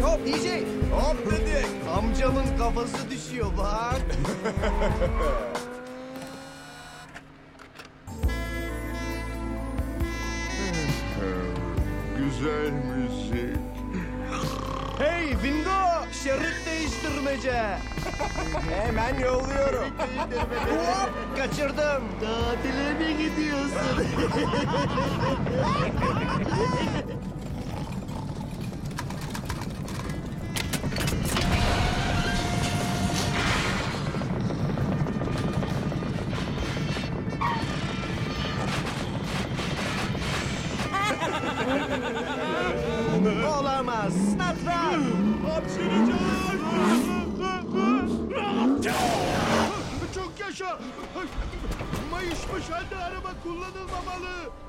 Hop diyecek. Hop dedi. Amcamın kafası düşüyor bak. Güzel müzik. Hey bingo! Şerit değiştirmece. Hemen yolluyorum. Hop kaçırdım. Tatile mi gidiyorsun? Olamaz. Snatran. Çok yaşa. Mayışmış halde araba kullanılmamalı.